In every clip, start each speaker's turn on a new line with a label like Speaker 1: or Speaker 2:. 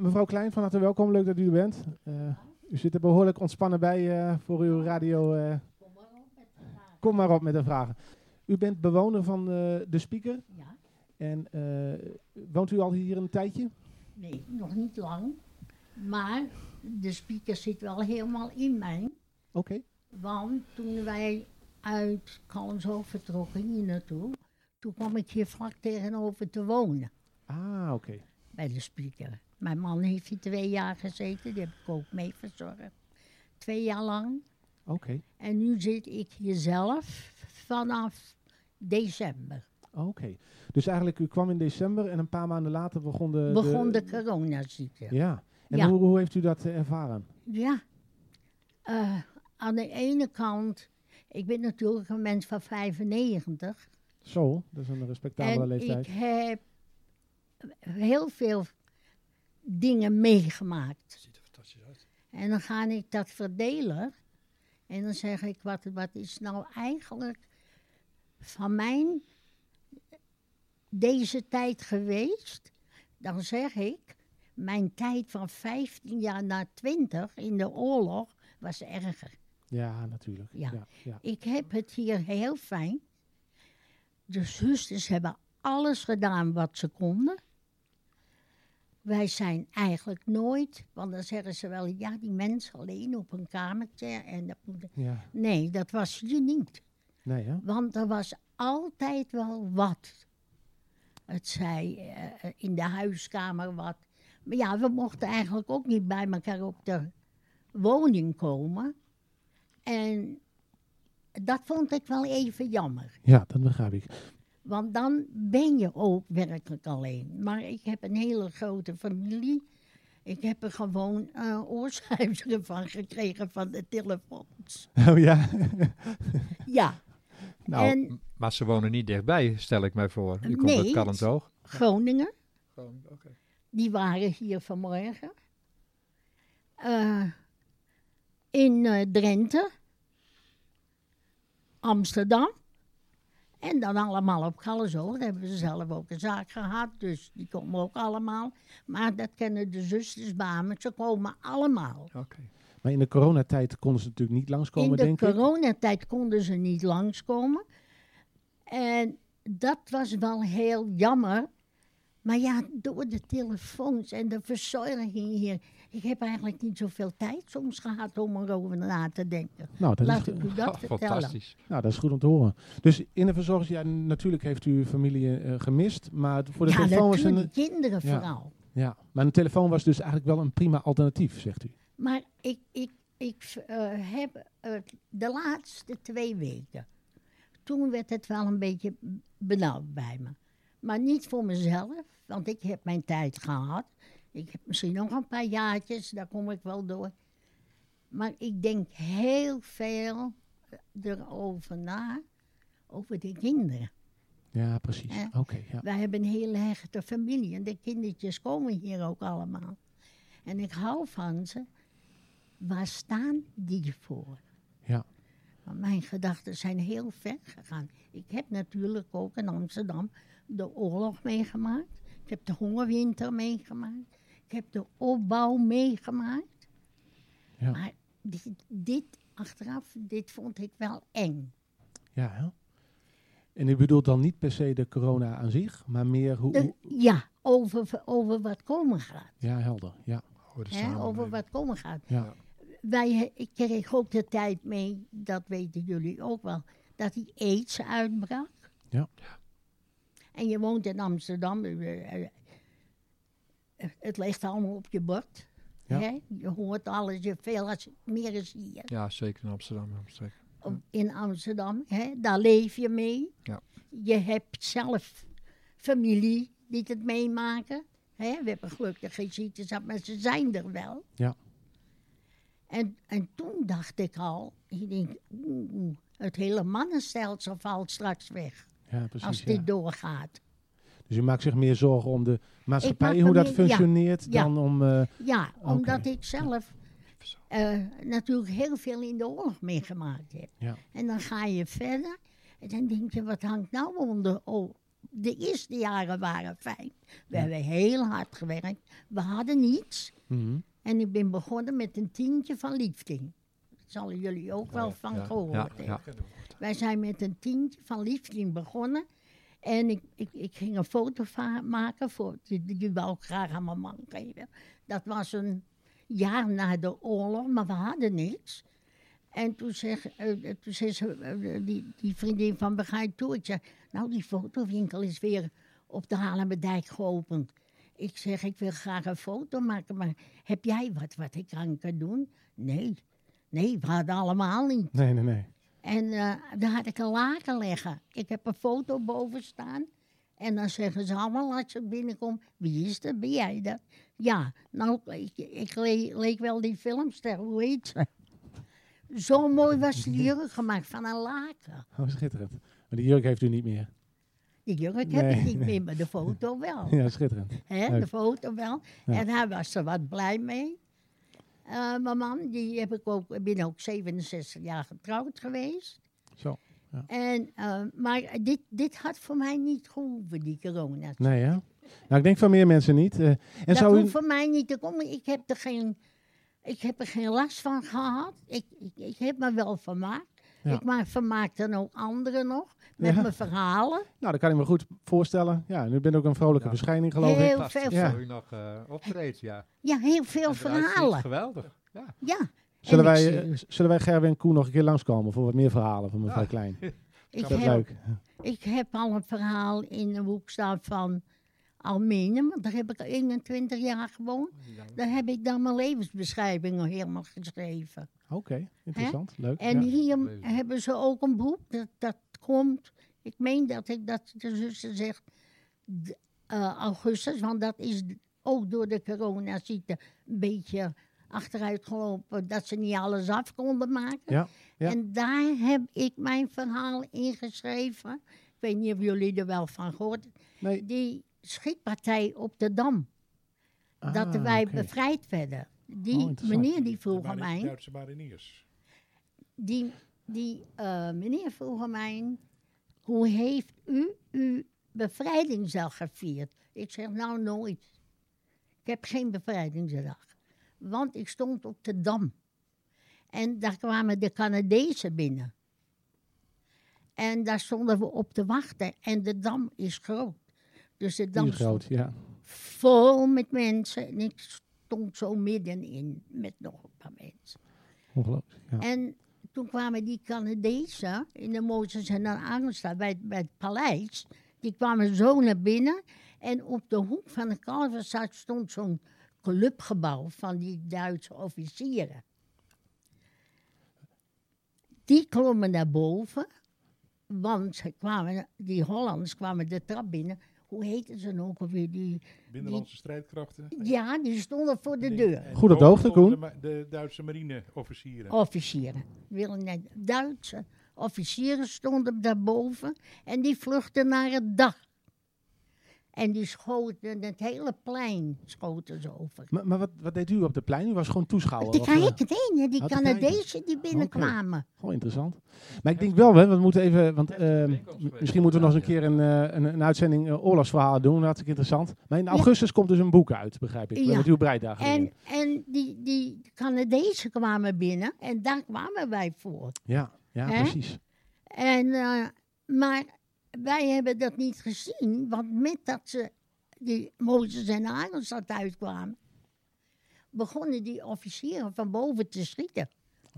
Speaker 1: Mevrouw Klein, van harte welkom. Leuk dat u er bent. Eh, u zit er behoorlijk ontspannen bij eh, voor uw radio. eh. Kom maar op met de vragen. U bent bewoner van eh, de Speaker
Speaker 2: Ja,
Speaker 1: en eh, woont u al hier een tijdje?
Speaker 2: nee, nog niet lang. Maar de speaker zit wel helemaal in mij.
Speaker 1: Oké.
Speaker 2: Want toen wij uit Kalmshoofd vertrokken hier naartoe, toen kwam ik hier vlak tegenover te wonen
Speaker 1: Ah, oké.
Speaker 2: bij de speaker. Mijn man heeft hier twee jaar gezeten, die heb ik ook mee verzorgd. Twee jaar lang.
Speaker 1: Oké.
Speaker 2: En nu zit ik hier zelf vanaf december.
Speaker 1: Oké. Dus eigenlijk, u kwam in december en een paar maanden later begon Eh, de...
Speaker 2: Begon de coronaziekte.
Speaker 1: Ja. En
Speaker 2: Ja.
Speaker 1: Hoe, hoe heeft u dat eh, ervaren?
Speaker 2: Ja. Eh, aan de ene kant, ik ben natuurlijk een mens van 95.
Speaker 1: Zo, dat is een respectabele
Speaker 2: en
Speaker 1: leeftijd.
Speaker 2: ik heb heel veel dingen meegemaakt.
Speaker 3: Ziet er fantastisch uit.
Speaker 2: En dan ga ik dat verdelen. En dan zeg ik, wat, wat is nou eigenlijk van mijn deze tijd geweest? Dan zeg ik, mijn tijd van 15 jaar naar 20 in de oorlog was erger.
Speaker 1: Ja, natuurlijk.
Speaker 2: Ja.
Speaker 1: Ja, ja.
Speaker 2: Ik heb het hier heel fijn. De zusters hebben alles gedaan wat ze konden. Wij zijn eigenlijk nooit, want dan zeggen ze wel, ja, die mensen alleen op een kamertje. En dat moet-
Speaker 1: Ja.
Speaker 2: Nee, dat was je niet.
Speaker 1: Nee, hè?
Speaker 2: Want er was altijd wel wat. Het zei eh, in de huiskamer wat. Maar ja, we mochten eigenlijk ook niet bij elkaar op de woning komen. En dat vond ik wel even jammer.
Speaker 1: Ja, dat begrijp ik.
Speaker 2: Want dan ben je ook werkelijk alleen. Maar ik heb een hele grote familie. Ik heb er gewoon eh oorzuizeren van gekregen van de telefoons.
Speaker 1: Oh ja.
Speaker 2: Ja,
Speaker 1: Nou,
Speaker 2: en
Speaker 3: Maar ze wonen niet dichtbij, stel ik mij voor. U komt
Speaker 2: Nee,
Speaker 3: uit Kallendoog.
Speaker 2: Groningen.
Speaker 3: Gewoon, oké.
Speaker 2: Die waren hier vanmorgen. Eh, in eh, Drenthe. Amsterdam. En dan allemaal op Gallenzoog. Daar hebben ze zelf ook een zaak gehad. Dus die komen ook allemaal. Maar dat kennen de zusters Bamen. Ze komen allemaal.
Speaker 3: oké.
Speaker 1: maar in de coronatijd konden ze natuurlijk niet langskomen,
Speaker 2: in
Speaker 1: denk
Speaker 2: de
Speaker 1: ik.
Speaker 2: coronatijd konden ze niet langskomen. En dat was wel heel jammer. Maar ja, door de telefoons en de verzorging hier. Ik heb eigenlijk niet zoveel tijd soms gehad om erover na te denken.
Speaker 1: Nou dat,
Speaker 2: Laat
Speaker 1: is,
Speaker 2: ik u dat
Speaker 3: Oh,
Speaker 2: vertellen.
Speaker 3: fantastisch.
Speaker 1: nou, dat is goed om te horen. Dus in de verzorging, ja, natuurlijk heeft u uw familie eh, gemist. Maar voor de
Speaker 2: ja,
Speaker 1: telefoon was
Speaker 2: natuurlijk,
Speaker 1: een...
Speaker 2: kinderen
Speaker 1: Ja.
Speaker 2: vooral.
Speaker 1: Ja, maar een telefoon was dus eigenlijk wel een prima alternatief, zegt u.
Speaker 2: Maar ik, ik, ik eh, heb eh, de laatste twee weken. Toen werd het wel een beetje benauwd bij me. Maar niet voor mezelf, want ik heb mijn tijd gehad. Ik heb misschien nog een paar jaartjes, daar kom ik wel door. Maar ik denk heel veel eh, erover na, over de kinderen.
Speaker 1: Ja, precies.
Speaker 2: Ja.
Speaker 1: Oké, ja.
Speaker 2: Wij hebben een hele hechte familie en de kindertjes komen hier ook allemaal. En ik hou van ze. Waar staan die voor?
Speaker 1: Ja.
Speaker 2: Want mijn gedachten zijn heel ver gegaan. Ik heb natuurlijk ook in Amsterdam de oorlog meegemaakt. Ik heb de hongerwinter meegemaakt. Ik heb de opbouw meegemaakt.
Speaker 1: Ja.
Speaker 2: Maar dit, dit achteraf, dit vond ik wel eng.
Speaker 1: ja hè? En u bedoelt dan niet per se de corona aan zich, maar meer hoe...
Speaker 2: De-
Speaker 1: hoe-
Speaker 2: ja, over, over wat komen gaat.
Speaker 1: ja, helder. Ja,
Speaker 3: Oh, de
Speaker 2: Hè, over
Speaker 3: samenleving.
Speaker 2: wat komen gaat.
Speaker 1: ja.
Speaker 2: Wij, he- ik kreeg ook de tijd mee, dat weten jullie ook wel, dat die aids uitbrak.
Speaker 1: Ja.
Speaker 2: En je woont in Amsterdam, eh, eh, het ligt allemaal op je bord.
Speaker 1: Ja.
Speaker 2: Hè? Je hoort alles, je veel als, meer is hier.
Speaker 3: Ja, zeker in Amsterdam. Amsterdam.
Speaker 2: Om- In Amsterdam, hè? daar leef je mee.
Speaker 3: Ja.
Speaker 2: Je hebt zelf familie die het meemaken. Hè? We hebben gelukkig geen ziektes gehad, maar ze zijn er wel.
Speaker 1: Ja.
Speaker 2: En, en toen dacht ik al, ik denk, oeh, oeh, het hele mannenstelsel valt straks weg
Speaker 1: Ja, precies.
Speaker 2: als
Speaker 1: ja.
Speaker 2: dit doorgaat.
Speaker 1: Dus u maakt zich meer zorgen om de maatschappij,
Speaker 2: maak me
Speaker 1: hoe dat
Speaker 2: meer- ja,
Speaker 1: functioneert,
Speaker 2: ja.
Speaker 1: dan om... eh,
Speaker 2: Ja,
Speaker 1: Oké.
Speaker 2: omdat ik zelf eh, natuurlijk heel veel in de oorlog meegemaakt heb.
Speaker 1: ja,
Speaker 2: En dan ga je verder en dan denk je, wat hangt nou onder, o- De eerste jaren waren fijn. We hebben heel hard gewerkt. We hadden niets.
Speaker 1: Mhm.
Speaker 2: En ik ben begonnen met een tientje van liefding. Daar Zullen jullie ook wel van
Speaker 3: Oh ja,
Speaker 2: gehoord
Speaker 3: ja,
Speaker 2: hebben.
Speaker 3: ja.
Speaker 2: Wij zijn met een tientje van liefding begonnen. En ik, ik, ik ging een foto va- maken voor, die, die- die wou ik graag aan mijn man geven. Dat was een jaar na de oorlog, maar we hadden niks. En toen, zeg, eh, eh, toen zei ze, eh, eh, die, die vriendin van Begrijp toe, ik zeg, nou die fotowinkel is weer op de Halemerdijk geopend. Ik zeg, ik wil graag een foto maken, maar heb jij wat wat ik aan kan doen? Nee, nee, we hadden allemaal niet.
Speaker 1: Nee, nee, nee.
Speaker 2: En eh, daar had ik een laken liggen. Ik heb een foto boven staan. En dan zeggen ze allemaal als ze binnenkomt, wie is dat? Ben jij dat? Ja, nou, ik, ik le- leek wel die filmster, hoe heet ze? Zo mooi was die jurk gemaakt van een laken.
Speaker 1: Oh, schitterend. Maar die jurk heeft u niet meer.
Speaker 2: Die jurk heb
Speaker 1: Nee,
Speaker 2: ik niet
Speaker 1: nee.
Speaker 2: meer, maar de foto wel.
Speaker 1: Ja, schitterend.
Speaker 2: Hè,
Speaker 1: Leuk.
Speaker 2: de foto wel.
Speaker 1: Ja.
Speaker 2: En daar was ze wat blij mee. Eh, mijn man, die heb ik ook, ik ben ook 67 jaar getrouwd geweest.
Speaker 1: Zo.
Speaker 2: En, eh, maar dit, dit had voor mij niet gehoeven, die corona.
Speaker 1: Nee, ja. Nou, ik denk van meer mensen niet. eh. en
Speaker 2: dat
Speaker 1: zou
Speaker 2: hoeft
Speaker 1: u...
Speaker 2: voor mij niet te komen. Ik heb er geen, ik heb er geen last van gehad. Ik, ik, ik heb me wel vermaakt.
Speaker 1: Ja.
Speaker 2: Ik maak, vermaak dan ook anderen nog met
Speaker 1: Ja.
Speaker 2: mijn verhalen.
Speaker 1: Nou, dat kan ik me goed voorstellen. Ja, en u bent ook een vrolijke
Speaker 3: Ja.
Speaker 1: verschijning, geloof ik.
Speaker 2: Heel
Speaker 3: Fantastisch
Speaker 2: veel
Speaker 3: dat
Speaker 1: Ja.
Speaker 3: u nog eh, optreedt, ja.
Speaker 2: Ja, heel veel
Speaker 3: En eruit ziet,
Speaker 2: verhalen.
Speaker 3: Geweldig, ja.
Speaker 2: Ja.
Speaker 1: Zullen
Speaker 2: En ik
Speaker 1: wij,
Speaker 2: zie- Ah.
Speaker 1: eh, zullen wij Gerwin Koen nog een keer langskomen voor wat meer verhalen van mevrouw
Speaker 3: Ja.
Speaker 1: Klein?
Speaker 2: ik,
Speaker 1: Dat is
Speaker 2: heb,
Speaker 1: leuk.
Speaker 2: ik heb al een verhaal in de hoek staan van Almene, want daar heb ik 21 jaar gewoond.
Speaker 3: Dus
Speaker 2: Daar heb ik dan mijn levensbeschrijving nog helemaal geschreven.
Speaker 1: Oké, interessant. Leuk.
Speaker 2: En
Speaker 1: ja.
Speaker 2: hier
Speaker 3: leuk.
Speaker 2: hebben ze ook een boek. Dat, dat komt. Ik meen dat ik dat de zuster zegt. d- eh, augustus, want dat is d- ook door de coronaziekte een beetje achteruit gelopen. Dat ze niet alles af konden maken.
Speaker 1: Ja, ja.
Speaker 2: En daar heb ik mijn verhaal ingeschreven. Ik weet niet of jullie er wel van gehoord.
Speaker 1: Nee.
Speaker 2: Die schietpartij op de Dam. dat
Speaker 1: Ah,
Speaker 2: wij
Speaker 1: oké.
Speaker 2: bevrijd werden. Die
Speaker 1: Oh, interessant.
Speaker 2: meneer die vroeg aan
Speaker 4: Mari-
Speaker 2: mij
Speaker 4: Duitse mariniers.
Speaker 2: die, die eh, meneer vroeg aan mij, hoe heeft u uw bevrijdingsdag gevierd? Ik zeg, nou nooit. Ik heb geen bevrijdingsdag. Want ik stond op de Dam. En daar kwamen de Canadezen binnen. En daar stonden we op te wachten. En de Dam is groot. Dus de
Speaker 1: Die
Speaker 2: Dam
Speaker 1: is groot, ja.
Speaker 2: vol met mensen. En ik stond zo middenin met nog een paar mensen.
Speaker 1: Ongelooflijk. Ja.
Speaker 2: En toen kwamen die Canadezen in de Mozes en dan Angsta bij, het- bij het paleis. Die kwamen zo naar binnen. En op de hoek van de Kalverstraat stond zo'n clubgebouw van die Duitse officieren. Die klommen naar boven, want ze kwamen, die Hollanders kwamen de trap binnen. Hoe heten ze nou ook alweer? Die,
Speaker 4: Binnenlandse strijdkrachten.
Speaker 2: ja, die stonden voor de
Speaker 4: En-
Speaker 2: deur.
Speaker 4: en
Speaker 1: Goed op de
Speaker 4: boven
Speaker 1: hoogte,
Speaker 4: stonden
Speaker 1: Koen.
Speaker 4: De, ma- de Duitse
Speaker 2: Oh,
Speaker 4: marineofficieren.
Speaker 2: officieren. Wil net Duitse officieren stonden daarboven en die vluchtten naar het dak. En die schoten het hele plein schoten ze over.
Speaker 1: Maar, maar wat, wat deed u op de plein? U was gewoon toeschouwer.
Speaker 2: Die
Speaker 1: of,
Speaker 2: kijken,
Speaker 1: eh,
Speaker 2: nee, die
Speaker 1: te
Speaker 2: Canadezen die binnenkwamen.
Speaker 1: Gewoon interessant. Maar ik denk wel, hè, we moeten even, want
Speaker 3: Heftige
Speaker 1: ehm,
Speaker 3: bijeenkomst geweest.
Speaker 1: misschien moeten we nog eens een
Speaker 3: Ja,
Speaker 1: keer een, eh, een, een uitzending eh, oorlogsverhalen doen. Hartstikke interessant. Maar in augustus komt dus een boek uit, begrijp ik.
Speaker 2: Ja.
Speaker 1: Met uw breidagen.
Speaker 2: En,
Speaker 1: erin.
Speaker 2: en die, die Canadezen kwamen binnen en daar kwamen wij voor.
Speaker 1: Ja, ja
Speaker 2: Hè?
Speaker 1: precies.
Speaker 2: En, eh, maar wij hebben dat niet gezien, want met dat ze die Mozes en Arendsstad uitkwamen, begonnen die officieren van boven te schieten.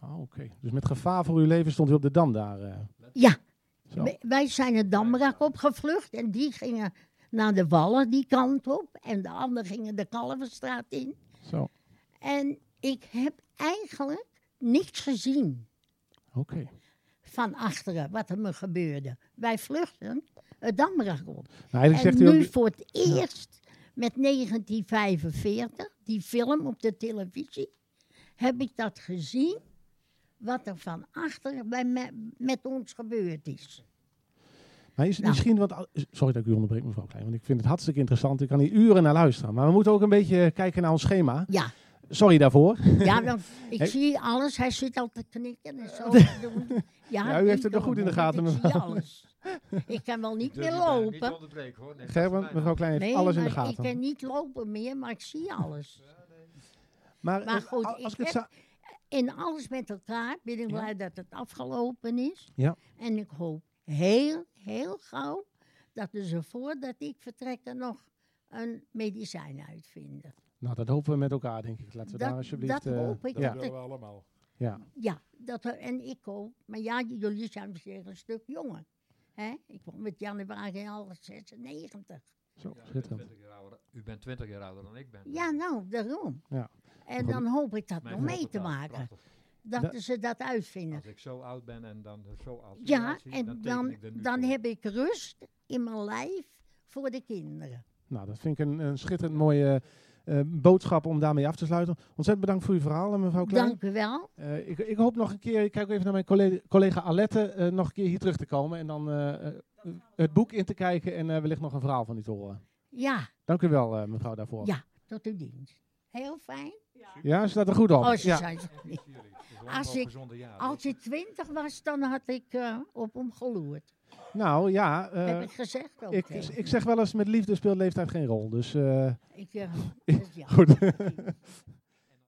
Speaker 1: Ah, Oké. Dus met gevaar voor uw leven stond u op de dam daar. eh,
Speaker 2: Ja,
Speaker 1: zo.
Speaker 2: wij- wij zijn het Damrak opgevlucht en die gingen naar de Wallen die kant op en de anderen gingen de Kalverstraat in.
Speaker 1: Zo.
Speaker 2: En ik heb eigenlijk niks gezien.
Speaker 1: Oké.
Speaker 2: Van achteren, wat er me gebeurde. Wij vluchten het Damrak op.
Speaker 1: Nou, eigenlijk
Speaker 2: En
Speaker 1: zegt u
Speaker 2: nu
Speaker 1: ook,
Speaker 2: voor het eerst met 1945, die film op de televisie, heb ik dat gezien. Wat er van achter bij me- met ons gebeurd is.
Speaker 1: maar is het
Speaker 2: Nou.
Speaker 1: misschien wat... eh, Sorry dat ik u onderbreek, mevrouw Klein, want ik vind het hartstikke interessant. Ik kan hier uren naar luisteren. Maar we moeten ook een beetje kijken naar ons schema.
Speaker 2: Ja,
Speaker 1: Sorry daarvoor.
Speaker 2: Ja, dan, ik
Speaker 1: Hey.
Speaker 2: zie alles. Hij zit al te knikken en zo te doen. Ja,
Speaker 1: Ja, u heeft
Speaker 2: ik
Speaker 1: het nog goed in de
Speaker 2: ook, want
Speaker 1: gaten,
Speaker 2: Ik zie alles. Ik kan wel niet meer lopen.
Speaker 3: Niet onderbreken hoor. Nee, dat is
Speaker 1: Gerben,
Speaker 3: fijn.
Speaker 1: mevrouw Klein heeft
Speaker 2: Nee,
Speaker 1: alles in de
Speaker 2: maar ik
Speaker 1: gaten.
Speaker 2: kan niet lopen meer, maar ik zie alles.
Speaker 1: maar
Speaker 2: maar
Speaker 1: eh,
Speaker 2: goed,
Speaker 1: als
Speaker 2: ik
Speaker 1: ik het
Speaker 2: heb-
Speaker 1: za-
Speaker 2: En alles met elkaar ben ik
Speaker 1: Ja.
Speaker 2: blij dat het afgelopen is.
Speaker 1: Ja.
Speaker 2: En ik hoop heel, heel gauw dat we ze voordat ik vertrek er nog een medicijn uitvinden.
Speaker 1: Nou, dat hopen we met elkaar, denk ik. Laten we
Speaker 2: Dat-
Speaker 1: daar alsjeblieft...
Speaker 2: dat
Speaker 1: eh,
Speaker 2: hoop ik.
Speaker 4: Dat
Speaker 1: Ja,
Speaker 4: willen we allemaal.
Speaker 1: ja.
Speaker 2: Ja, dat, er- en ik ook. Maar ja, jullie zijn misschien een stuk jonger. hè? Ik word met januari al 96.
Speaker 1: Zo,
Speaker 3: Ja, u bent
Speaker 1: schitterend.
Speaker 3: 20 jaar ouder- U bent 20 jaar ouder dan ik ben. dus
Speaker 2: Ja, nou, daarom.
Speaker 1: Ja.
Speaker 2: En
Speaker 1: Goed.
Speaker 2: dan hoop ik dat
Speaker 3: Mijn
Speaker 2: nog mee te
Speaker 3: voorbeeld,
Speaker 2: maken.
Speaker 3: prachtig.
Speaker 2: Dat,
Speaker 1: Da-
Speaker 2: ze dat uitvinden.
Speaker 3: Als ik zo oud ben en dan er zo oud
Speaker 2: Ja,
Speaker 3: uitzie,
Speaker 2: en
Speaker 3: teken
Speaker 2: dan,
Speaker 3: ik er nu
Speaker 2: dan
Speaker 3: voor.
Speaker 2: heb ik rust in mijn lijf voor de kinderen.
Speaker 1: Nou, dat vind ik een, een schitterend mooie eh, boodschap om daarmee af te sluiten. Ontzettend bedankt voor uw verhaal, eh, mevrouw Klein.
Speaker 2: Dank u wel.
Speaker 1: Eh, ik, ik hoop nog een keer, ik kijk even naar mijn collega, collega Alette, eh, nog een keer hier terug te komen. En dan eh, eh, het boek in te kijken en eh, wellicht nog een verhaal van u te horen.
Speaker 2: Ja,
Speaker 1: Dank u wel, eh, mevrouw, daarvoor.
Speaker 2: Ja. tot uw dienst. Heel fijn.
Speaker 1: Ja, ze staat er goed op.
Speaker 2: Oh, ze
Speaker 1: ja.
Speaker 2: zijn-
Speaker 3: Dank jullie. Het is lang
Speaker 2: Als
Speaker 3: wel
Speaker 2: ik-
Speaker 3: gezonde jaren.
Speaker 2: Als je twintig was, dan had ik eh, op hem geloerd.
Speaker 1: Nou ja, eh,
Speaker 2: Heb ik gezegd ook.
Speaker 1: ik,
Speaker 2: tegen
Speaker 1: ik zeg wel eens, met liefde speelt leeftijd geen rol. Dus eh,
Speaker 2: Ik, eh, dat is jammer.
Speaker 1: goed.